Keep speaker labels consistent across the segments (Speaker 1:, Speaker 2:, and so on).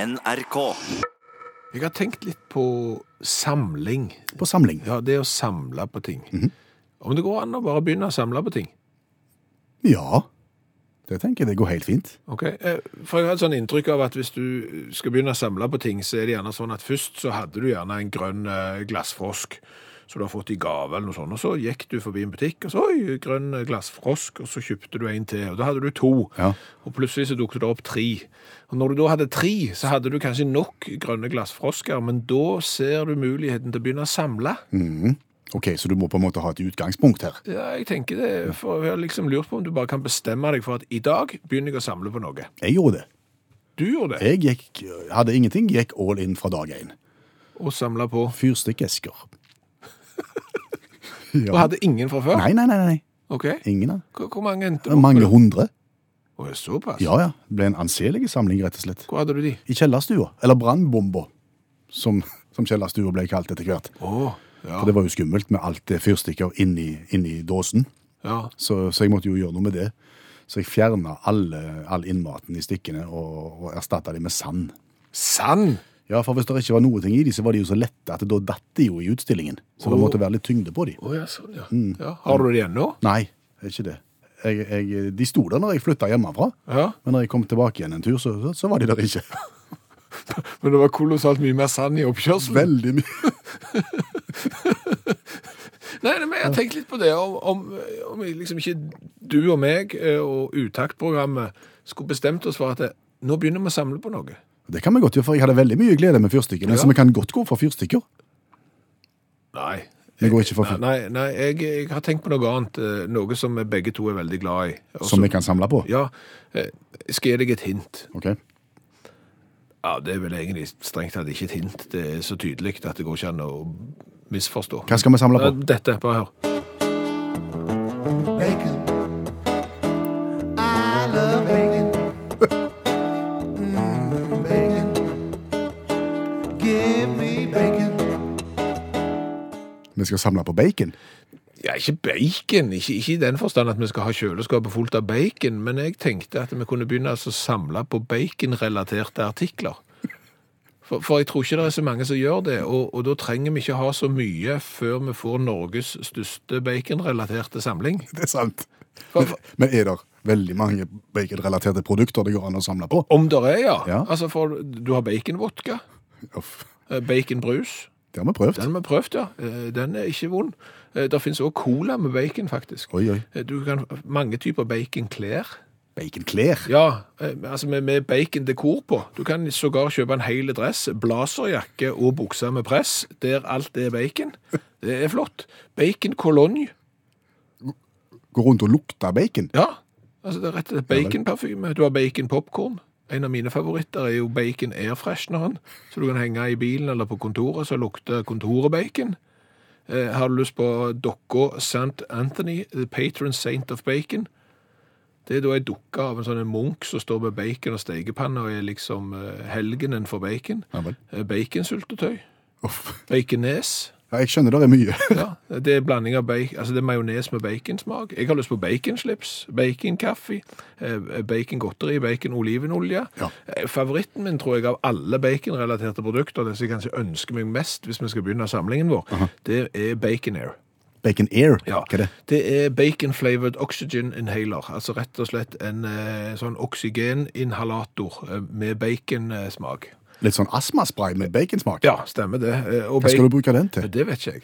Speaker 1: NRK.
Speaker 2: Jeg har tenkt litt på samling.
Speaker 3: På samling.
Speaker 2: Ja, det å samle på ting. Om det går an å bare begynne å samle på ting.
Speaker 3: Ja, det tenker jeg det går helt fint.
Speaker 2: Ok, eh, For jeg har et sånn inntrykk av at hvis du skal begynne å samle på ting, så er det gjerne sånn at først så hadde du gjerne en grønn eh, glassfrosk som du har fått i gave, eller noe sånt, og så gikk du forbi en butikk, og så oi, grønn eh, glassfrosk, og så kjøpte du en til, og da hadde du to,
Speaker 3: Ja.
Speaker 2: og plutselig så dukket det opp tre. Og når du da hadde tre, så hadde du kanskje nok grønne glassfrosker, men da ser du muligheten til å begynne å samle.
Speaker 3: Mhm. Ok, så du må på en måte ha et utgangspunkt her.
Speaker 2: Ja, jeg tenker det, for jeg har liksom lurt på om du bare kan bestemme deg for at i dag begynner jeg å samle på noe.
Speaker 3: Jeg gjorde det.
Speaker 2: Du gjorde det,
Speaker 3: Jeg gikk, hadde ingenting, gikk all in fra dag én.
Speaker 2: og samlet på,
Speaker 3: Fyrstikkesker.
Speaker 2: og hadde ingen fra før.
Speaker 3: Nei, nei, nei, nei.
Speaker 2: Ok.
Speaker 3: Ingen av.
Speaker 2: Hvor, hvor mange endte
Speaker 3: Det Altså. mangler hundre.
Speaker 2: Å, ja, såpass?
Speaker 3: Ja, ja. Det ble en anselig samling, rett og slett.
Speaker 2: Hvor hadde du de?
Speaker 3: I kjellerstua. Eller brannbomba, som, som kjellerstua ble kalt etter hvert.
Speaker 2: Å, ja.
Speaker 3: For det var jo skummelt med alt det fyrstikker inni, inni dåsen.
Speaker 2: ja.
Speaker 3: Så, så jeg måtte jo gjøre noe med det. Så jeg fjerna all innmaten i stikkene og, og erstatta dem med sand.
Speaker 2: Sand!
Speaker 3: Ja, for Hvis det ikke var noe ting i dem, så var de jo så lette at da datt de jo i utstillingen. Så det
Speaker 2: Åh.
Speaker 3: måtte være litt tyngde på dem.
Speaker 2: Å ja, sånn, ja.
Speaker 3: Mm.
Speaker 2: ja. Har du de ennå?
Speaker 3: Nei, det er ikke det. Jeg, jeg, de sto der når jeg flytta hjemmefra,
Speaker 2: Ja.
Speaker 3: men når jeg kom tilbake igjen en tur, så, så, så var de der ikke.
Speaker 2: Men det var kolossalt mye mer sand i oppkjørselen.
Speaker 3: Veldig mye.
Speaker 2: Nei, nei, men jeg har tenkt litt på det, om, om, om liksom ikke du og meg eh, og Utaktprogrammet skulle bestemt oss for at eh, nå begynner vi å samle på noe.
Speaker 3: Det kan vi godt gjøre, for jeg hadde veldig mye glede med fyrstikkene,
Speaker 2: Ja.
Speaker 3: så vi kan godt gå for fyrstikker.
Speaker 2: Nei.
Speaker 3: Vi går ikke for fyr,
Speaker 2: Nei, nei jeg, jeg har tenkt på noe annet, eh, noe som vi begge to er veldig glad i. Og
Speaker 3: som vi kan samle på.
Speaker 2: Ja, eh, skal jeg gi deg et hint?
Speaker 3: Ok.
Speaker 2: Ja, det er vel egentlig strengt tatt ikke et hint. Det er så tydelig at det går ikke an å misforstå.
Speaker 3: Hva skal vi samle
Speaker 2: Ja,
Speaker 3: på?
Speaker 2: Dette, bare hør.
Speaker 4: Bacon. I love bacon. Mm, bacon. Give me bacon.
Speaker 3: Vi skal samle på bacon.
Speaker 2: Ja, ikke bacon. Ikke, ikke i den forstand at vi skal ha kjøleskapet fullt av bacon, men jeg tenkte at vi kunne begynne altså å samle på baconrelaterte artikler. For, for jeg tror ikke det er så mange som gjør det, og, og da trenger vi ikke ha så mye før vi får Norges største baconrelaterte samling.
Speaker 3: Det er sant.
Speaker 2: Hva-
Speaker 3: Men, men er det veldig mange baconrelaterte produkter det går an å samle på?
Speaker 2: Om det er, ja.
Speaker 3: Ja.
Speaker 2: Altså, for du har baconvodka,
Speaker 3: Uff.
Speaker 2: eh, baconbrus.
Speaker 3: Det har vi prøvd.
Speaker 2: Den har vi prøvd, ja. Eh, Den er ikke vond. Eh, Der finnes også cola med bacon, faktisk.
Speaker 3: Oi, oi.
Speaker 2: Eh, Du kan mange typer baconklær.
Speaker 3: Baconklær.
Speaker 2: Ja, eh, altså med, med bacondekor på. Du kan sågar kjøpe en hel dress, blaserjakke og bukser med press, der alt er bacon. Det er flott. Bacon cologne.
Speaker 3: Gå rundt og lukte bacon.
Speaker 2: Ja, altså det er rett og slett baconparfyme. Du har bacon popcorn. En av mine favoritter er jo bacon airfreshneren, så du kan henge i bilen eller på kontoret, så lukter kontoret bacon. Eh, har du lyst på dokka St. Anthony, the patron saint of bacon? Det er da ei dukke av en sånn en munk som står med bacon og stekepanne og er liksom eh, helgenen for bacon.
Speaker 3: Ja vel.
Speaker 2: Eh, Baconsyltetøy.
Speaker 3: Uff.
Speaker 2: Bacones.
Speaker 3: Ja, jeg skjønner det er mye.
Speaker 2: Ja, det er blanding av bacon, altså det er majones med baconsmak. Jeg har lyst på baconslips, baconkaffe, eh, bacongodteri, baconolivenolje.
Speaker 3: Ja.
Speaker 2: Eh, Favoritten min, tror jeg, av alle baconrelaterte produkter, det som jeg kanskje ønsker meg mest hvis vi skal begynne samlingen vår, det er Baconair.
Speaker 3: Bacon air.
Speaker 2: Ja,
Speaker 3: Hva er det?
Speaker 2: det er bacon-flavored oxygen inhaler, altså rett og slett en eh, sånn oksygeninhalator eh, med baconsmak.
Speaker 3: Litt sånn astmaspray med baconsmak.
Speaker 2: Ja, stemmer det. Eh, og
Speaker 3: Hva
Speaker 2: bacon-
Speaker 3: skal du bruke den til?
Speaker 2: men det vet ikke jeg.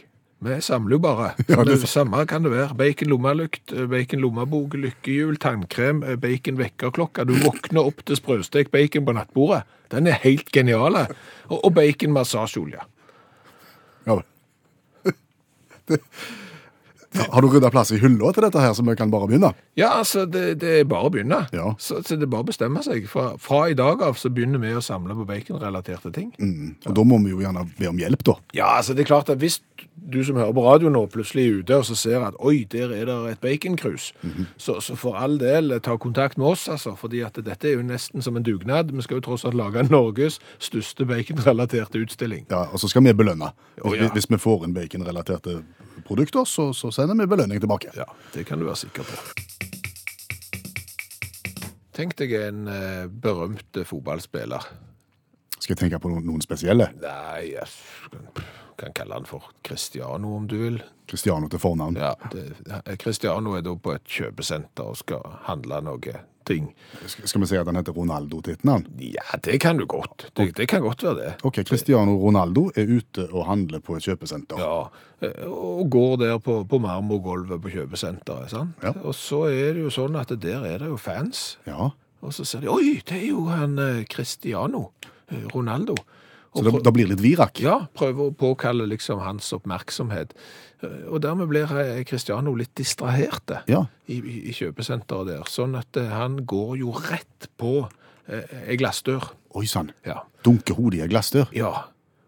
Speaker 2: Vi samler jo bare.
Speaker 3: Ja,
Speaker 2: Men
Speaker 3: det er sant.
Speaker 2: Samme kan det være. Bacon lommelykt, eh, bacon lommebok, lykkehjul, tannkrem, eh, bacon vekkerklokka. Du våkner opp til sprøstekt bacon på nattbordet. Den er helt geniale. Og, og bacon massasjeolje.
Speaker 3: Ja. vel. Det. Har du rydda plass i hylla til dette her, så vi kan bare begynne?
Speaker 2: Ja, altså, det, det er bare å begynne.
Speaker 3: Ja.
Speaker 2: Så, så det er bare å bestemme seg. Fra, fra i dag av så begynner vi å samle på baconrelaterte ting.
Speaker 3: Mm. Og da må vi jo gjerne be om hjelp, da.
Speaker 2: Ja, altså det er klart at hvis du som hører på radio nå plutselig er ute og så ser at oi, der er det et baconkrus, så, så for all del eh, ta kontakt med oss, altså, fordi at dette er jo nesten som en dugnad. Vi skal jo tross alt lage Norges største baconrelaterte utstilling.
Speaker 3: Ja, Og så skal vi belønne. Hvis,
Speaker 2: Å, ja.
Speaker 3: hvis vi får inn baconrelaterte produkter, så, så sender vi belønning tilbake.
Speaker 2: Ja, det kan du være sikker på. Tenk deg en eh, berømt eh, fotballspiller
Speaker 3: Skal jeg tenke på noen, noen spesielle?
Speaker 2: Nei, jeg s- kan- kan kalle han for Cristiano om du vil.
Speaker 3: Cristiano til fornavn.
Speaker 2: Ja, det, Cristiano er da på et kjøpesenter og skal handle noe ting.
Speaker 3: Sk- Skal vi si at han heter Ronaldo til etternavn?
Speaker 2: Ja, det kan du godt. Det, det kan godt være det.
Speaker 3: Ok, Cristiano Ronaldo er ute og handler på et kjøpesenter.
Speaker 2: Ja, eh, og går der på, på marmorgulvet på kjøpesenteret, sant?
Speaker 3: Ja.
Speaker 2: Og så er det jo sånn at der er det jo fans,
Speaker 3: Ja.
Speaker 2: og så ser de, oi, det er jo han eh, Cristiano eh, Ronaldo.
Speaker 3: Så
Speaker 2: Og
Speaker 3: det,
Speaker 2: prø-
Speaker 3: det blir litt virak.
Speaker 2: ja, prøver å påkalle liksom hans oppmerksomhet. Eh, Og dermed blir eh, Cristiano litt distraherte
Speaker 3: Ja.
Speaker 2: i, i, i kjøpesenteret der, sånn at eh, han går jo rett på eh, en glassdør.
Speaker 3: Oi sann.
Speaker 2: Ja.
Speaker 3: Dunker hodet i ei glassdør.
Speaker 2: Ja,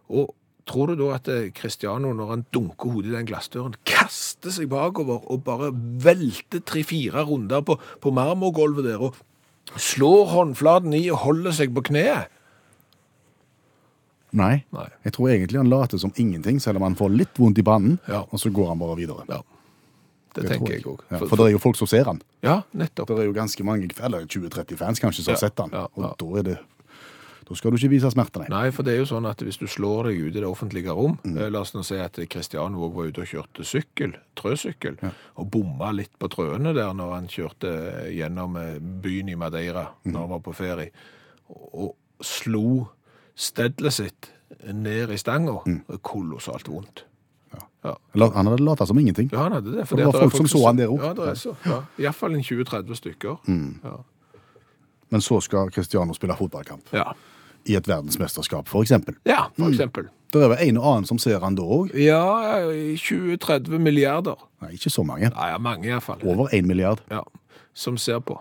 Speaker 2: og tror du da at eh, Cristiano, når han dunker hodet i den glassdøren, kaster seg bakover og bare velter tre-fire runder på, på marmorgulvet der, og slår håndflaten i og holder seg på kneet?
Speaker 3: Nei.
Speaker 2: Nei.
Speaker 3: Jeg tror egentlig han later som ingenting, selv om han får litt vondt i bannen,
Speaker 2: Ja.
Speaker 3: og så går han bare videre.
Speaker 2: Ja, det,
Speaker 3: tror
Speaker 2: tenker jeg òg.
Speaker 3: Ja, for det er jo folk som ser han.
Speaker 2: Ja, nettopp.
Speaker 3: Det er jo ganske mange, eller 20-30 fans kanskje, som
Speaker 2: Ja,
Speaker 3: har sett han.
Speaker 2: ja,
Speaker 3: Og
Speaker 2: ja.
Speaker 3: da er det Da skal du ikke vise smerte, nei.
Speaker 2: Nei, for det er jo sånn at hvis du slår deg ut i det offentlige rom
Speaker 3: Mm.
Speaker 2: eh, La oss nå si at Kristian Våg var ute og kjørte sykkel, trøsykkel, og bomma litt på trøene der når han kjørte gjennom eh, byen i Madeira
Speaker 3: Mm.
Speaker 2: når han var på ferie, og slo stedlet sitt ned i stanga.
Speaker 3: Mm.
Speaker 2: Kolossalt vondt.
Speaker 3: La- Han hadde lata som ingenting.
Speaker 2: Ja, han hadde det.
Speaker 3: det var
Speaker 2: at er
Speaker 3: folk som så han der Mm. også.
Speaker 2: Ja, det er så. Ja. Iallfall en 20-30 stykker. Ja.
Speaker 3: Men så skal Cristiano spille fotballkamp
Speaker 2: Ja.
Speaker 3: i et verdensmesterskap, f.eks.
Speaker 2: ja, for
Speaker 3: Mm.
Speaker 2: eksempel.
Speaker 3: Det er vel en og annen som ser han da òg.
Speaker 2: Ja, 20-30 milliarder.
Speaker 3: Nei, ikke så mange.
Speaker 2: Nei, ja, mange iallfall.
Speaker 3: Over én milliard.
Speaker 2: ja, som ser på.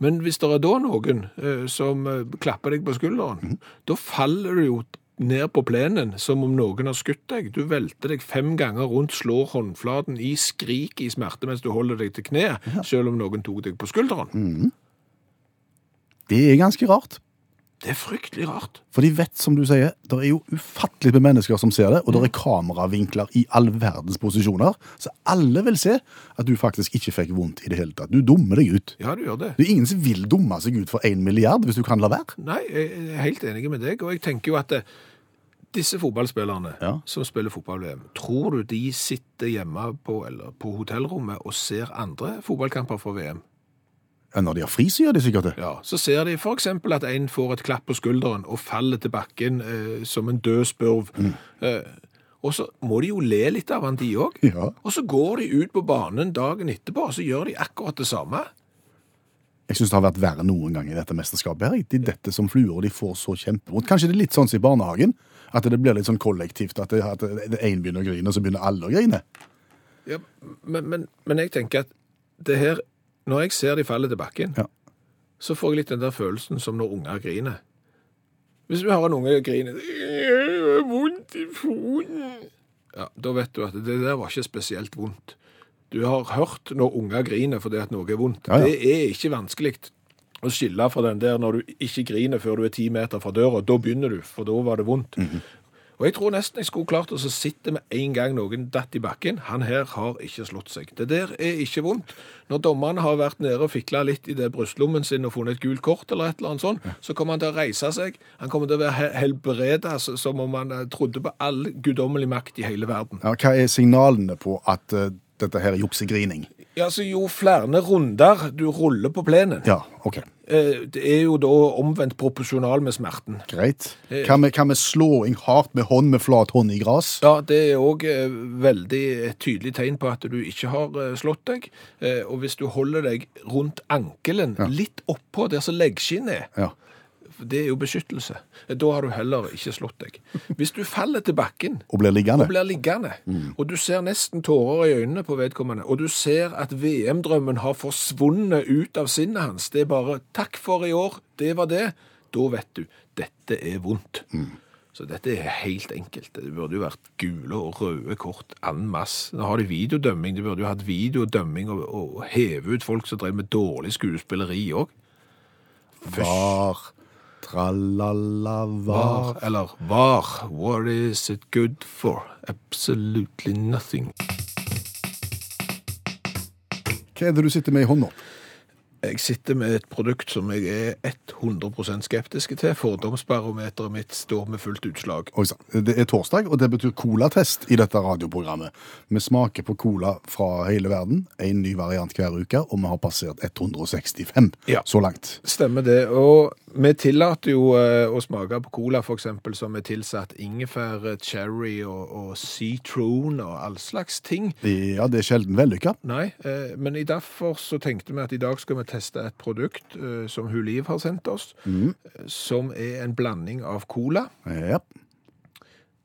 Speaker 2: Men hvis det er da noen eh, som eh, klapper deg på skulderen, da faller du jo ned på plenen som om noen har skutt deg. Du velter deg fem ganger rundt, slår håndflaten i, skriker i smerte mens du holder deg til kneet, selv om noen tok deg på skulderen.
Speaker 3: Det er ganske rart.
Speaker 2: Det er fryktelig rart.
Speaker 3: For de vet, som du sier, det er jo ufattelig med mennesker som ser det, og det er kameravinkler i all verdens posisjoner, så alle vil se at du faktisk ikke fikk vondt i det hele tatt. Du dummer deg ut.
Speaker 2: Ja, du gjør det.
Speaker 3: Det er ingen som vil dumme seg ut for én milliard hvis du kan la være.
Speaker 2: Nei, jeg jeg er helt enig med deg, og jeg tenker jo at eh, disse fotballspillerne
Speaker 3: Ja.
Speaker 2: som spiller fotball-VM, tror du de sitter hjemme på, eller på hotellrommet og ser andre fotballkamper fra VM?
Speaker 3: Ja, Når de har fri, så gjør de sikkert det.
Speaker 2: Ja, Så ser de f.eks. at en får et klapp på skulderen og faller til bakken eh, som en død spurv. Eh, og så må de jo le litt av han, de òg.
Speaker 3: Ja.
Speaker 2: Og så går de ut på banen dagen etterpå og så gjør de akkurat det samme.
Speaker 3: Jeg syns det har vært verre noen gang i dette mesterskapet. her. De detter som fluer, og de får så kjempevondt. Kanskje det er litt sånn som i barnehagen? At det blir litt sånn kollektivt, at det- at én begynner å grine, og så begynner alle å grine?
Speaker 2: Ja, men, men, men jeg tenker at det her Når jeg ser de faller til bakken,
Speaker 3: Ja.
Speaker 2: så får jeg litt den der følelsen som når unger griner. Hvis du har en unge og griner «Jeg har Vondt i foten. Ja, da vet du at det der var ikke spesielt vondt. Du har hørt når unger griner fordi at noe er vondt.
Speaker 3: Ja, ja.
Speaker 2: Det er ikke vanskelig å skille fra den der når du ikke griner før du er ti meter fra døra. Da begynner du, for da var det vondt.
Speaker 3: Mm.
Speaker 2: Og jeg tror nesten jeg skulle klart å så sitte med en gang noen datt i bakken. Han her har ikke slått seg. Det der er ikke vondt. Når dommeren har vært nede og fikla litt i det brystlommen sin og funnet et gult kort eller et eller annet sånt, så kommer han til å reise seg. Han kommer til å være he- helbreda altså, som om han eh, trodde på all guddommelig makt i hele verden.
Speaker 3: Ja, hva er signalene på at eh, dette her er juksegrining?
Speaker 2: Ja, så jo flere runder du ruller på plenen,
Speaker 3: Ja, OK.
Speaker 2: eh, det er jo da omvendt proporsjonal med smerten.
Speaker 3: Greit.
Speaker 2: Eh.
Speaker 3: Hva med, hva med slåing hardt med hånd med flat hånd i gress?
Speaker 2: Ja, det er òg veldig et tydelig tegn på at du ikke har eh, slått deg. Eh, Og hvis du holder deg rundt ankelen, litt oppå der som leggskinnet er,
Speaker 3: Ja.
Speaker 2: for det er jo beskyttelse, eh, da har du heller ikke slått deg. Hvis du faller til bakken
Speaker 3: Og blir liggende?
Speaker 2: og blir liggende, og du ser nesten tårer i øynene på vedkommende, og du ser at VM-drømmen har forsvunnet ut av sinnet hans, det er bare 'takk for i år', det var det, da vet du dette er vondt. Så dette er helt enkelt. Det burde jo vært gule og røde kort en masse. Nå har de videodømming, de burde jo hatt videodømming og, og heve ut folk som drev med dårlig skuespilleri òg.
Speaker 3: Var. Tralala, var.
Speaker 2: Var, eller var, what is it good for? Absolutely nothing.
Speaker 3: Hva er det du sitter med i hånda?
Speaker 2: Jeg sitter med et produkt som jeg er 100 skeptisk til. Fordomsbarometeret mitt står med fullt utslag.
Speaker 3: Oi sann. Det er torsdag, og det betyr colatest i dette radioprogrammet. Vi smaker på cola fra hele verden, en ny variant hver uke, og vi har passert 165
Speaker 2: Ja.
Speaker 3: så langt.
Speaker 2: Stemmer det. Og vi tillater jo eh, å smake på cola f.eks. som er tilsatt ingefær, eh, cherry og, og citron og all slags ting.
Speaker 3: Ja, det er sjelden vellykka.
Speaker 2: Nei, eh, men i derfor så tenkte vi at i dag skal vi teste et produkt eh, som Hu Liv har sendt oss, eh, som er en blanding av cola,
Speaker 3: Ja.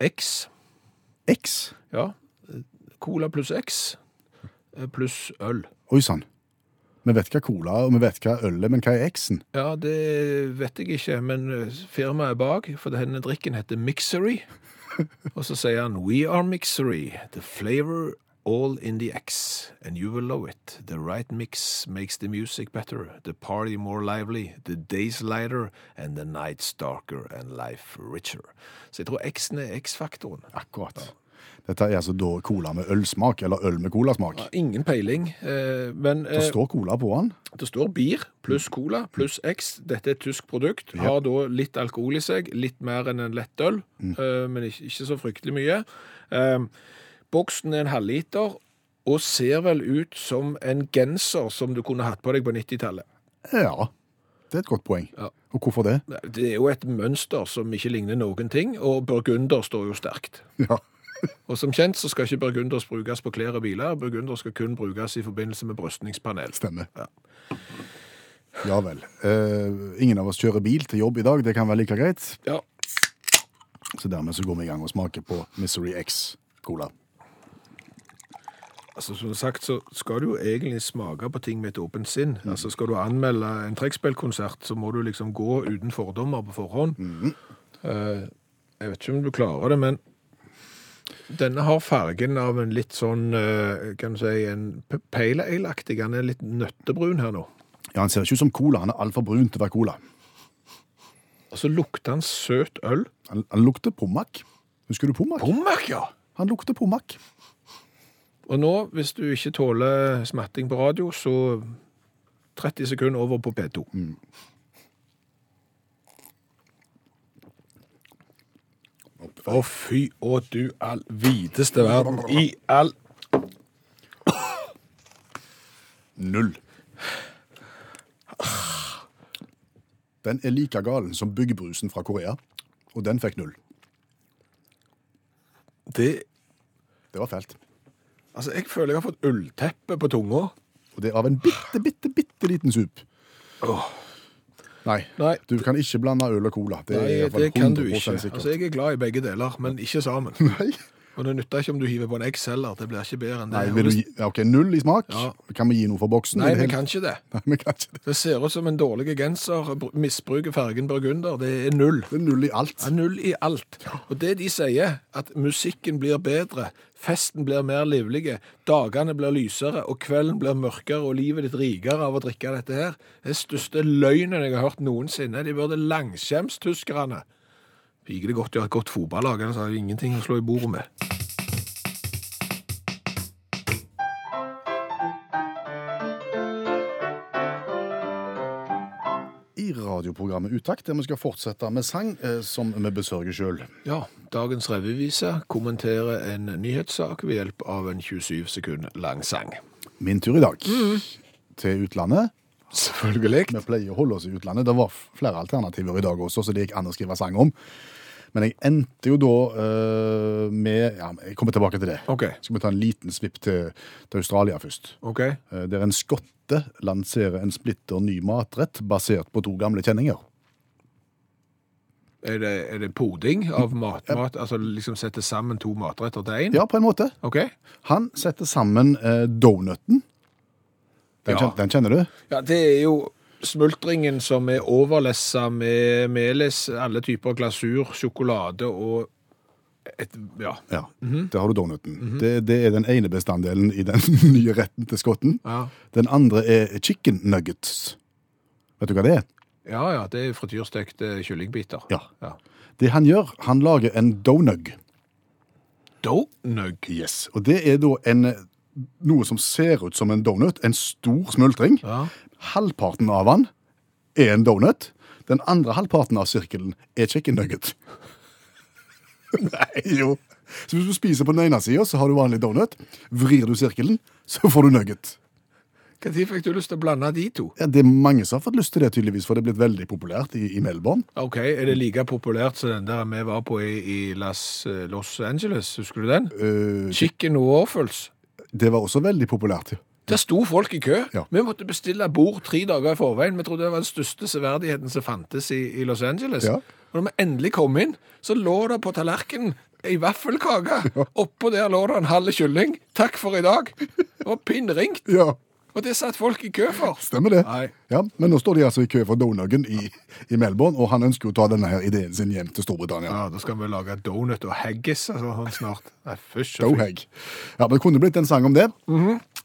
Speaker 2: X,
Speaker 3: X.
Speaker 2: ja, eh, cola pluss X, eh, pluss øl.
Speaker 3: Oi sann. Vi vet hva cola er, og vi vet hva øl er, men hva er X-en?
Speaker 2: Ja, det vet jeg ikke, men eh, firmaet bak, for denne drikken heter Mixery, og så sier han, We are Mixery, the flavor all in the X, and you will love it. The right mix makes the music better, the party more lively, the days lighter, and the nights darker and life richer. Så jeg tror X-en er X-faktoren.
Speaker 3: Akkurat. Dette er altså da cola med ølsmak, eller øl med colasmak.
Speaker 2: Ja, Ingen peiling, eh, men
Speaker 3: Det
Speaker 2: eh,
Speaker 3: står cola på den.
Speaker 2: Det står bier pluss cola pluss X. Dette er et tysk produkt.
Speaker 3: Ja.
Speaker 2: Har da litt alkohol i seg, litt mer enn en lettøl,
Speaker 3: Mm.
Speaker 2: eh, men ikke, ikke så fryktelig mye. Eh, Boksen er en halvliter og ser vel ut som en genser som du kunne hatt på deg på 90-tallet.
Speaker 3: Ja, det er et godt poeng.
Speaker 2: Ja.
Speaker 3: Og hvorfor det?
Speaker 2: Det er jo et mønster som ikke ligner noen ting, og burgunder står jo sterkt.
Speaker 3: Ja.
Speaker 2: Og som kjent så skal ikke burgunders brukes på klær og biler. Burgunder skal kun brukes i forbindelse med brystningspanel.
Speaker 3: Stemmer.
Speaker 2: Ja.
Speaker 3: Ja vel. Eh, ingen av oss kjører bil til jobb i dag, det kan være like greit.
Speaker 2: Ja,
Speaker 3: Så dermed så går vi i gang og smaker på Misery X Cola.
Speaker 2: Altså, som sagt, så skal du jo egentlig smake på ting med et åpent sinn. Altså, skal du anmelde en trekkspillkonsert, så må du liksom gå uten fordommer på forhånd. Eh, jeg vet ikke om du klarer det, men denne har fargen av en litt sånn, eh, kan du si, en p- pale ale-aktig. Han er litt nøttebrun her nå.
Speaker 3: Ja, Han ser ikke ut som cola, han er altfor brun til å være cola.
Speaker 2: Og så lukter han søt øl.
Speaker 3: Han, han lukter pommak. Husker du pommak?
Speaker 2: Bommerk, ja!
Speaker 3: Han lukter pommak.
Speaker 2: Og nå, hvis du ikke tåler smatting på radio, så 30 sekunder over på P2.
Speaker 3: Mm.
Speaker 2: Å fy, å du all videste verden i all
Speaker 3: Null. Den er like galen som byggbrusen fra Korea, og den fikk null.
Speaker 2: Det
Speaker 3: Det var fælt.
Speaker 2: Altså, jeg føler jeg har fått ullteppe på tunga.
Speaker 3: Og det er av en bitte, bitte, bitte liten sup. Nei,
Speaker 2: Nei.
Speaker 3: du kan ikke blande øl og cola. Det, er i
Speaker 2: Nei,
Speaker 3: hvert fall
Speaker 2: det kan du
Speaker 3: 100%
Speaker 2: ikke.
Speaker 3: sikkert.
Speaker 2: Altså, jeg er glad i begge deler, men ikke sammen.
Speaker 3: Nei.
Speaker 2: Og det nytter ikke om du hiver på en X heller. Det blir ikke bedre enn det.
Speaker 3: Nei, vil du gi ja, Ok, null i smak?
Speaker 2: Ja.
Speaker 3: Kan vi gi noe for boksen?
Speaker 2: Nei,
Speaker 3: Er
Speaker 2: vi
Speaker 3: det helt-
Speaker 2: kan ikke det.
Speaker 3: Nei, vi kan ikke det.
Speaker 2: Det ser ut som en dårlig genser. br- Misbruker fargen burgunder. Det er null.
Speaker 3: Det er null i alt.
Speaker 2: Ja, null i alt. Og det de sier, at musikken blir bedre, festen blir mer livlige, dagene blir lysere, og kvelden blir mørkere, og livet ditt rikere av å drikke dette her, det er største løgnen jeg har hørt noensinne. De burde langskjems, tyskerne. Piker det godt de har et godt fotballag, ellers har de ingenting å slå i bordet med.
Speaker 3: I radioprogrammet Utakt, der vi skal fortsette med sang eh, som vi besørger sjøl.
Speaker 2: Ja, dagens revyvise kommenterer en nyhetssak ved hjelp av en 27 sekund lang sang.
Speaker 3: Min tur i dag
Speaker 2: Mm.
Speaker 3: til utlandet.
Speaker 2: Selvfølgelig.
Speaker 3: Vi pleier å holde oss i utlandet. Det var flere alternativer i dag også, så det gikk an å skrive sang om. Men jeg endte jo da eh, med Ja, jeg kommer tilbake til det.
Speaker 2: Ok,
Speaker 3: Skal vi ta en liten svipp til, til Australia først?
Speaker 2: ok.
Speaker 3: Eh, Der en skotte lanserer en splitter ny matrett basert på to gamle kjenninger.
Speaker 2: Er det, er det poding av matmat? Altså liksom sette sammen to matretter til én?
Speaker 3: Ja, på en måte.
Speaker 2: Ok.
Speaker 3: Han setter sammen eh, donuten. Den,
Speaker 2: Ja.
Speaker 3: kjen- den kjenner du?
Speaker 2: Ja, det er jo smultringen som er overlessa med melis, alle typer glasur, sjokolade og et Ja.
Speaker 3: Ja,
Speaker 2: Mhm.
Speaker 3: der har du donuten. det, det er den ene bestanddelen i den nye retten til skotten.
Speaker 2: Ja,
Speaker 3: Den andre er chicken nuggets. Vet du hva det er?
Speaker 2: ja, ja det er frityrstekte kyllingbiter.
Speaker 3: Ja.
Speaker 2: ja.
Speaker 3: Det han gjør, han lager en donug.
Speaker 2: Donug.
Speaker 3: Yes. Og det er da en noe som ser ut som en donut, en stor smultring.
Speaker 2: Ja.
Speaker 3: Halvparten av den er en donut. Den andre halvparten av sirkelen er chicken nugget. Nei, jo. Så hvis du spiser på den ene sida, så har du vanlig donut. Vrir du sirkelen, så får du nugget.
Speaker 2: Når fikk du lyst til å blande de to?
Speaker 3: Ja, det er mange som har fått lyst til det, tydeligvis, for det er blitt veldig populært i, i Melbourne.
Speaker 2: Ok, Er det like populært som den der vi var på i, i Las, eh, Los Angeles? Husker du den?
Speaker 3: Eh,
Speaker 2: Chicken waffles.
Speaker 3: det var også veldig populært.
Speaker 2: Der sto folk i kø.
Speaker 3: Ja.
Speaker 2: Vi måtte bestille bord tre dager i forveien. Vi trodde det var den største severdigheten som fantes i, i Los Angeles.
Speaker 3: Ja.
Speaker 2: Og når vi endelig kom inn, så lå det på tallerkenen ei vaffelkake. Oppå der lå det en halv kylling. Takk for i dag. Det var pinnringt.
Speaker 3: Ja,
Speaker 2: Og det satt folk i kø for.
Speaker 3: Stemmer det.
Speaker 2: Nei.
Speaker 3: Ja, men nå står de altså i kø for Donuggen i, i Melbourne, og han ønsker jo å ta denne her ideen sin hjem til Storbritannia.
Speaker 2: Ja, Da skal vi lage donut og haggis altså, sånn snart. Nei, fysj og fy.
Speaker 3: Doheg. Ja, men det kunne blitt en sang om det.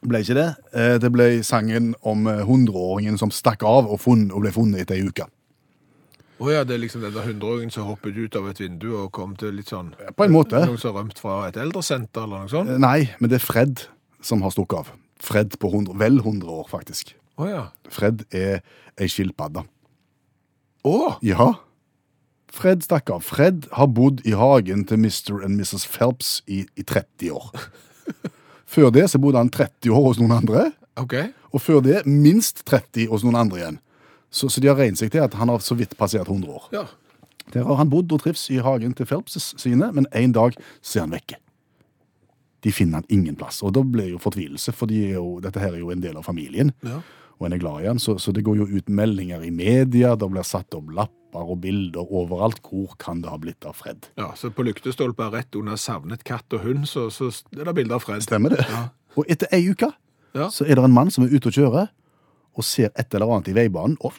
Speaker 3: Ble ikke det. Eh, Det ble sangen om eh, hundreåringen som stakk av og, funn- og ble funnet etter ei uke.
Speaker 2: Å ja, det er liksom den der hundreåringen som hoppet ut av et vindu og kom til litt sånn
Speaker 3: På en måte.
Speaker 2: Noen som har rømt fra et eldresenter eller noe sånt?
Speaker 3: Eh, Nei, men det er Fred som har stukket av. Fred på 100, vel 100 år, faktisk.
Speaker 2: Å ja.
Speaker 3: Fred er ei skilpadde.
Speaker 2: Å!
Speaker 3: Ja. Fred stakk av. Fred har bodd i hagen til Mr. and Mrs. Phelps i, i 30 år. Før det så bodde han 30 år hos noen andre,
Speaker 2: OK.
Speaker 3: og før det minst 30 hos noen andre igjen. Så, så de har regnet seg til at han har så vidt passert 100 år.
Speaker 2: Ja.
Speaker 3: Der har han bodd og trives i hagen til Phelps sine, men en dag så er han vekke. De finner han ingen plass, og da blir jo fortvilelse, for de er jo, dette her er jo en del av familien
Speaker 2: ja.
Speaker 3: og en er glad i han, så, så det går jo ut meldinger i media, det blir satt opp lapper og bilder overalt. Hvor kan det ha blitt av Fred?
Speaker 2: Ja, så på lyktestolper rett under savnet katt og hund, så, så er det bilder av Fred.
Speaker 3: Stemmer det? Og etter ei uke
Speaker 2: Ja.
Speaker 3: så er det en mann som er ute og kjører, og ser et eller annet i veibanen, og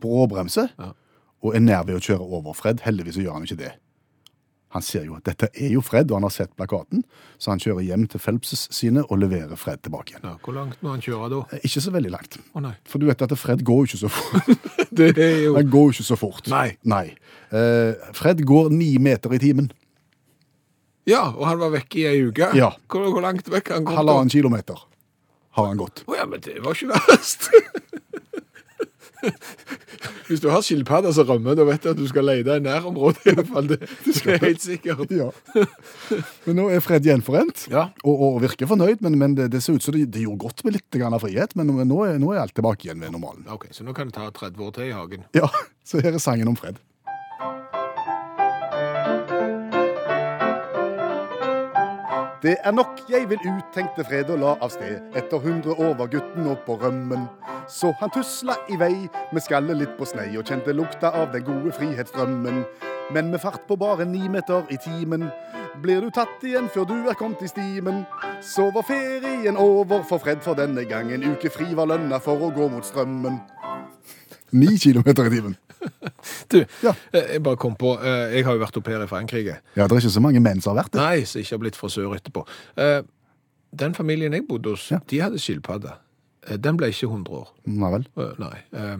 Speaker 3: bråbremse,
Speaker 2: Ja.
Speaker 3: og er nær ved å kjøre over Fred. Heldigvis så gjør han ikke det. Han ser jo at dette er jo Fred, og han har sett plakaten, så han kjører hjem til Phelps sine og leverer Fred tilbake igjen.
Speaker 2: Ja, hvor langt må han kjøre da? Å
Speaker 3: Ikke så veldig langt.
Speaker 2: nei.
Speaker 3: For du vet at Fred går jo ikke så fort.
Speaker 2: Det er jo
Speaker 3: Han går jo ikke så fort.
Speaker 2: Nei.
Speaker 3: Eh, Fred går ni meter i timen.
Speaker 2: Ja, og han var vekke i ei uke.
Speaker 3: Ja.
Speaker 2: Hvor, hvor langt vekk han kom? da?
Speaker 3: Halvannen kilometer har han gått.
Speaker 2: Å ja, men det var ikke verst. Hvis du har skilpadder som rømmer, da vet du at du skal lete i nærområdet. i hvert fall. Det, det er helt sikkert.
Speaker 3: Ja. Men nå er Fred gjenforent
Speaker 2: Ja.
Speaker 3: og, og virker fornøyd, men, men det, det ser ut som det, det gjorde godt med litt grann av frihet, men nå er, nå er alt tilbake igjen ved normalen.
Speaker 2: Ok, Så nå kan det ta 30 år til i hagen.
Speaker 3: Ja, så her er sangen om Fred. Det er nok, jeg vil ut, tenkte Fred og la av sted. Etter hundre år var gutten nå på rømmen. Så han tusla i vei med skallet litt på snei og kjente lukta av den gode frihetsdrømmen. Men med fart på bare ni meter i timen blir du tatt igjen før du er kommet i stimen. Så var ferien over for Fred for denne gangen. Uke fri var lønna for å gå mot strømmen. Ni kilometer i timen.
Speaker 2: Du,
Speaker 3: Ja.
Speaker 2: eh, jeg bare kom på eh, Jeg har jo vært au pair i Frankrike.
Speaker 3: Ja, det er ikke så mange menn som har vært det.
Speaker 2: Nei, som ikke har blitt frisør etterpå. Eh, Den familien jeg bodde hos,
Speaker 3: Ja.
Speaker 2: de hadde skilpadde. Eh, Den ble ikke 100 år.
Speaker 3: Nei vel?
Speaker 2: Eh, Nei. eh,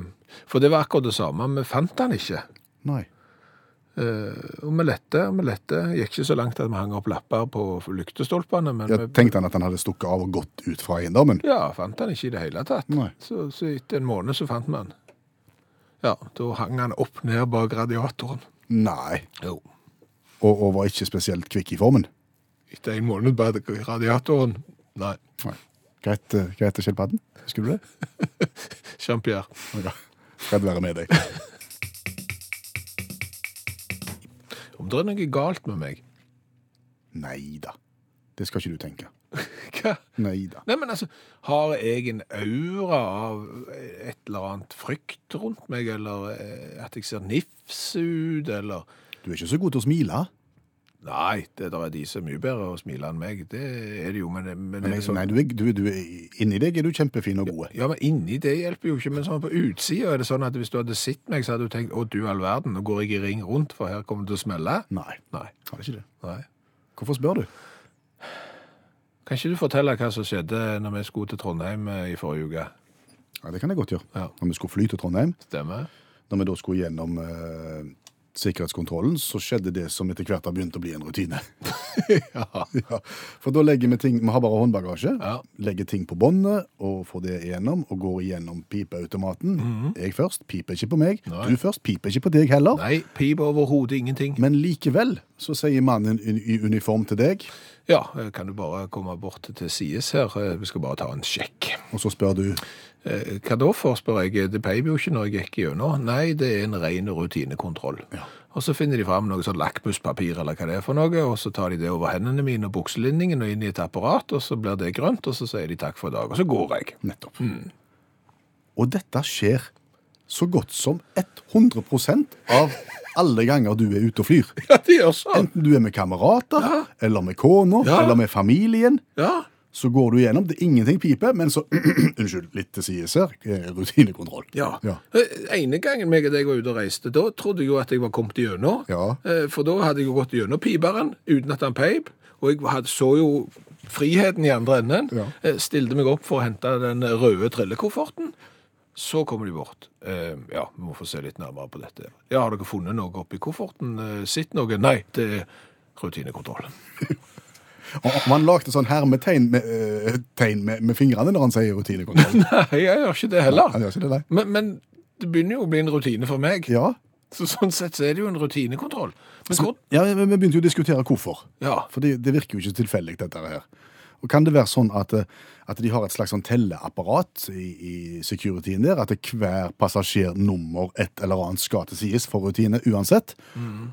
Speaker 2: For det var akkurat det samme. Vi fant den ikke.
Speaker 3: Nei.
Speaker 2: Eh, Og vi lette og vi lette. Gikk ikke så langt at vi hang opp lapper på lyktestolpene, men
Speaker 3: Jeg
Speaker 2: vi
Speaker 3: tenkte han at han hadde stukket av og gått ut fra eiendommen?
Speaker 2: ja, fant den ikke i det hele tatt.
Speaker 3: Nei.
Speaker 2: Så, så etter en måned så fant vi den. Ja, da hang han opp ned bak radiatoren.
Speaker 3: Nei.
Speaker 2: Jo.
Speaker 3: Og, og var ikke spesielt kvikk i formen?
Speaker 2: Etter en måned bak radiatoren. Nei.
Speaker 3: Nei. eh, Hva heter, hva heter skilpadden? Husker du det?
Speaker 2: Jean-Pierre.
Speaker 3: Ja. Fred være med deg.
Speaker 2: Om det er noe galt med meg?
Speaker 3: Nei da. Det skal ikke du tenke.
Speaker 2: Hva?
Speaker 3: Nei da.
Speaker 2: Nei, men altså, har jeg en aura av et eller annet frykt rundt meg, eller eh, at jeg ser nifs ut, eller
Speaker 3: Du er ikke så god til å smile.
Speaker 2: Nei, det der er de som er mye bedre å smile enn meg, det er det jo, men, men,
Speaker 3: Men
Speaker 2: er det
Speaker 3: jeg,
Speaker 2: sånn-
Speaker 3: nei, du er, du, du er, inni deg er du kjempefin og god.
Speaker 2: Ja, men inni det hjelper jo ikke, men sånn på utsida er det sånn at hvis du hadde sett meg, så hadde du tenkt å du all verden, nå går jeg i ring rundt, for her kommer det til å smelle.
Speaker 3: Nei.
Speaker 2: Nei.
Speaker 3: Har det ikke det.
Speaker 2: nei.
Speaker 3: Hvorfor spør du?
Speaker 2: Kan ikke du fortelle hva som skjedde når vi skulle til Trondheim eh, i forrige uke?
Speaker 3: Ja, Det kan jeg godt gjøre.
Speaker 2: Ja.
Speaker 3: Når vi skulle fly til Trondheim,
Speaker 2: Stemmer?
Speaker 3: når vi da skulle gjennom eh, sikkerhetskontrollen, så skjedde det som etter hvert har begynt å bli en rutine. ja, for da legger vi ting Vi har bare håndbagasje.
Speaker 2: Ja.
Speaker 3: Legger ting på båndet og får det igjennom, og går igjennom pipeautomaten. Jeg først. Piper ikke på meg.
Speaker 2: Mhm. Nei.
Speaker 3: Du først. Piper ikke på deg heller.
Speaker 2: Nei, pip overhodet ingenting.
Speaker 3: Men likevel så sier mannen i i uniform til deg,
Speaker 2: Ja, eh, kan du bare komme bort til sides her? Eh, Vi skal bare ta en sjekk.
Speaker 3: og så spør du
Speaker 2: Eh, Hva da for, spør jeg. Det peiv jo ikke når jeg gikk gjennom. Nei, det er en ren rutinekontroll. Og så finner de fram noe sånn lakkmuspapir eller hva det er for noe, og så tar de det over hendene mine og bukselinningen og inn i et apparat, og så blir det grønt, og så sier de takk for i dag, og så går jeg.
Speaker 3: nettopp.
Speaker 2: Mm.
Speaker 3: Og dette skjer så godt som 100 av alle ganger du er ute og flyr.
Speaker 2: Ja, de gjør sånn.
Speaker 3: Enten du er med kamerater, eller med kona,
Speaker 2: Ja.
Speaker 3: eller med familien,
Speaker 2: Ja,
Speaker 3: så går du gjennom. Det er ingenting pipe, men så Unnskyld, litt til sides her. eh, Rutinekontroll.
Speaker 2: Ja.
Speaker 3: Ja.
Speaker 2: Eh, Ene gangen meg og deg var ute og reiste, da trodde jeg jo at jeg var kommet gjennom.
Speaker 3: Ja.
Speaker 2: Eh, For da hadde jeg jo gått gjennom piperen uten at han peip, og jeg hadde, så jo friheten i andre enden.
Speaker 3: Ja.
Speaker 2: Eh, Stilte meg opp for å hente den røde trillekofferten. Så kommer de bort. Eh, ja, vi må få se litt nærmere på dette. Ja, har dere funnet noe oppi kofferten? Eh, Sitt noe? Nei, det er rutinekontroll.
Speaker 3: Og og man lagde sånn hermetegn med, eh, tegn med, med fingrene når han sier rutinekontroll.
Speaker 2: Nei, jeg gjør ikke det heller.
Speaker 3: Han gjør ikke det, nei.
Speaker 2: Men, men det begynner jo å bli en rutine for meg.
Speaker 3: Ja.
Speaker 2: Så sånn sett så er det jo en rutinekontroll. Men hvor...
Speaker 3: ja, men vi begynte jo å diskutere hvorfor.
Speaker 2: Ja.
Speaker 3: For det, det virker jo ikke tilfeldig, dette her. Og Kan det være sånn at, eh, at de har et slags sånn telleapparat i, i securityen der, at det hver passasjer nummer et eller annet skal til sides for rutine uansett?
Speaker 2: Mm.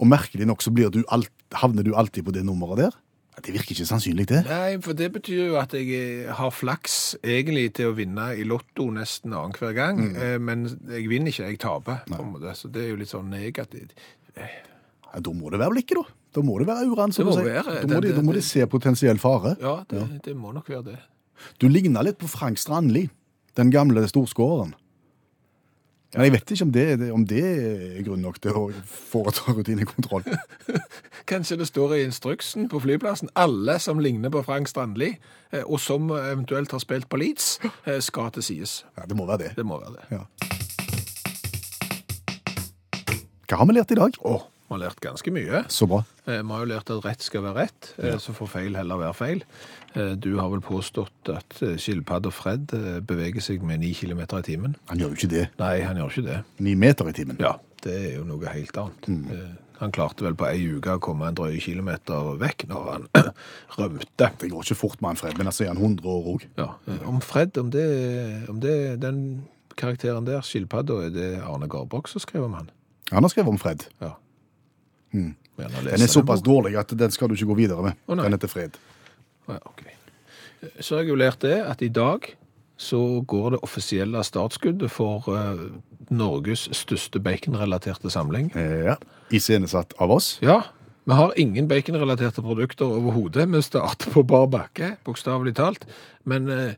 Speaker 3: Og merkelig nok så blir du alt, havner du alltid på det nummeret der? Ja, Det virker ikke sannsynlig, det.
Speaker 2: Nei, for det betyr jo at jeg eh, har flaks egentlig til å vinne i lotto nesten annenhver gang, eh, men jeg vinner ikke, jeg taper. på en måte, Så det er jo litt sånn negativt.
Speaker 3: Ja, da må det være blikket, da. Da må det være uran. som
Speaker 2: Det må
Speaker 3: du sier.
Speaker 2: være.
Speaker 3: Da må,
Speaker 2: Det-
Speaker 3: de,
Speaker 2: det-
Speaker 3: da må de
Speaker 2: det-
Speaker 3: se potensiell fare.
Speaker 2: Ja, det, det må nok være det.
Speaker 3: Du ligner litt på Frank Strandli, den gamle storskåren. Men jeg vet ikke om det, om det er grunn nok til å foreta rutinekontroll.
Speaker 2: Kanskje det står i instruksen på flyplassen alle som ligner på Frank Strandli, eh, og som eventuelt har spilt på Leeds, eh, skal til sides.
Speaker 3: Ja, det må være det.
Speaker 2: Det må være det.
Speaker 3: Ja. Hva har vi lært i dag?
Speaker 2: Å, vi har lært ganske mye.
Speaker 3: Så bra.
Speaker 2: Eh, Vi har jo lært at rett skal være rett, eh, så får feil heller være feil. Eh, Du har vel påstått at eh, skilpadda Fred eh, beveger seg med 9 km i timen.
Speaker 3: Han gjør jo ikke det.
Speaker 2: Nei, han gjør ikke det.
Speaker 3: Ni meter i timen.
Speaker 2: Ja, det er jo noe helt annet. Eh, Han klarte vel på ei uke å komme en drøy kilometer vekk når han rømte.
Speaker 3: Det går ikke fort med han Fred, men altså er han 100 år òg.
Speaker 2: Ja, eh, Om Fred, om det, om det den karakteren der, skilpadda, er det Arne Garborg som skrev om han?
Speaker 3: Han har skrevet om Fred.
Speaker 2: Ja. Den
Speaker 3: Den er såpass dårlig at den skal du ikke gå videre med.
Speaker 2: Å, nei.
Speaker 3: Den heter Fred.
Speaker 2: Ja, ok. Eh, Så har jeg jo lært det at i dag så går det offisielle startskuddet for eh, Norges største baconrelaterte samling.
Speaker 3: Ja. Iscenesatt av oss.
Speaker 2: Ja, vi har ingen baconrelaterte produkter overhodet. Vi starter på bar bakke, bokstavelig talt. Men eh,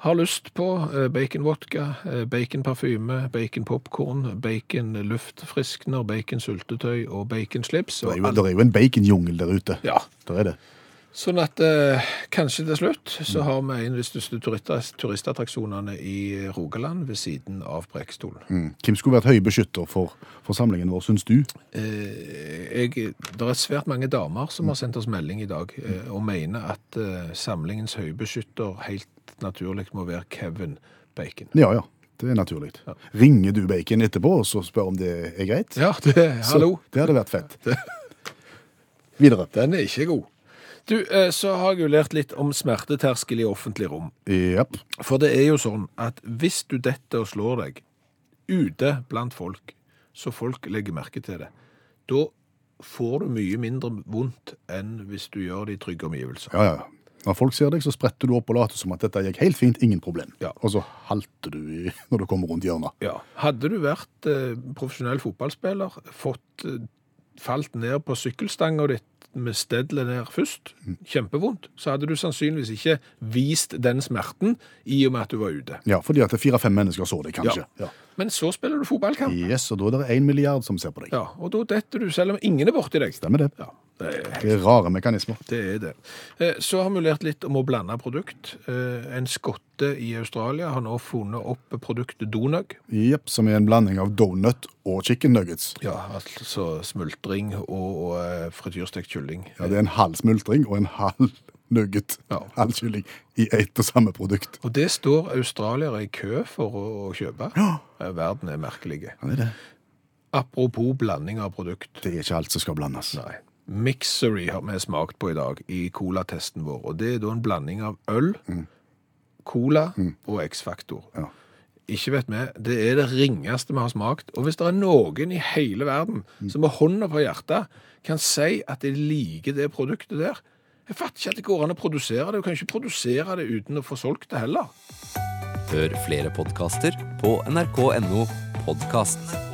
Speaker 2: har lyst på eh, baconvodka, eh, baconparfyme, baconpopkorn, baconluftfriskner, baconsyltetøy og baconslips.
Speaker 3: Det
Speaker 2: Og
Speaker 3: er jo,
Speaker 2: alt-
Speaker 3: det er jo en baconjungel der ute.
Speaker 2: Ja,
Speaker 3: Der er det.
Speaker 2: Sånn at eh, kanskje til slutt
Speaker 3: Mm.
Speaker 2: så har vi en av de største turist- turistattraksjonene i Rogaland ved siden av Brekkstolen.
Speaker 3: Mm. Hvem skulle vært høy beskytter for forsamlingen vår, syns du?
Speaker 2: Eh, jeg, det er svært mange damer som har sendt oss melding i dag eh, og mener at eh, samlingens høybeskytter helt naturlig må være Kevin Bacon.
Speaker 3: Ja, ja. Det er naturlig. Ringer du Bacon etterpå og så spør om det er greit?
Speaker 2: Ja, det,
Speaker 3: Så
Speaker 2: hallo.
Speaker 3: Det hadde vært fett. Videre.
Speaker 2: Den er ikke god. Du, eh, så har jeg jo lært litt om smerteterskel i offentlig rom.
Speaker 3: Japp.
Speaker 2: For det er jo sånn at hvis du detter og slår deg ute blant folk, så folk legger merke til det, da får du mye mindre vondt enn hvis du gjør det i trygge omgivelser.
Speaker 3: Ja, ja. ja. Når folk ser deg, så spretter du opp og later som at dette gikk helt fint, ingen problem.
Speaker 2: Ja.
Speaker 3: Og så halter du i, når du kommer rundt hjørnet.
Speaker 2: Ja. Hadde du vært eh, profesjonell fotballspiller, fått, eh, falt ned på sykkelstanga ditt med stedlet ned først, kjempevondt, så hadde du sannsynligvis ikke vist den smerten i og med at du var ute.
Speaker 3: Ja, fordi at det er fire-fem mennesker så deg, kanskje. Ja.
Speaker 2: Men så spiller du fotballkamp.
Speaker 3: Yes, og da er det én milliard som ser på deg.
Speaker 2: Ja, og da detter du selv om ingen er borti deg.
Speaker 3: Stemmer det.
Speaker 2: Ja, Det er
Speaker 3: Det er rare mekanismer.
Speaker 2: Det er det. Eh, Så har vi lært litt om å blande produkt. Eh, En skotte i Australia har nå funnet opp produktet donug.
Speaker 3: Jepp, som er en blanding av donut og chicken nuggets.
Speaker 2: Ja, altså smultring og, og eh, frityrstekt kylling.
Speaker 3: Ja, det er en halv smultring og en halv nugget,
Speaker 2: Ja.
Speaker 3: halv kylling, i ett og samme produkt.
Speaker 2: Og det står australiere i kø for å, å kjøpe.
Speaker 3: Ja.
Speaker 2: Eh, Verden er merkelig.
Speaker 3: Ja, det er det.
Speaker 2: Apropos blanding av produkt.
Speaker 3: Det er ikke alt som skal blandes.
Speaker 2: Nei. Mixery har vi smakt på i dag i colatesten vår, og det er da en blanding av øl, cola og X-faktor.
Speaker 3: Mm. Ja.
Speaker 2: Ikke vet vi, det er det ringeste vi har smakt, og hvis det er noen i hele verden
Speaker 3: Mm.
Speaker 2: som med hånda på hjertet kan si at de liker det produktet der, jeg fatter ikke at det går an å produsere det, du kan ikke produsere det uten å få solgt det heller.
Speaker 1: Hør flere podkaster på nrk.no podkast.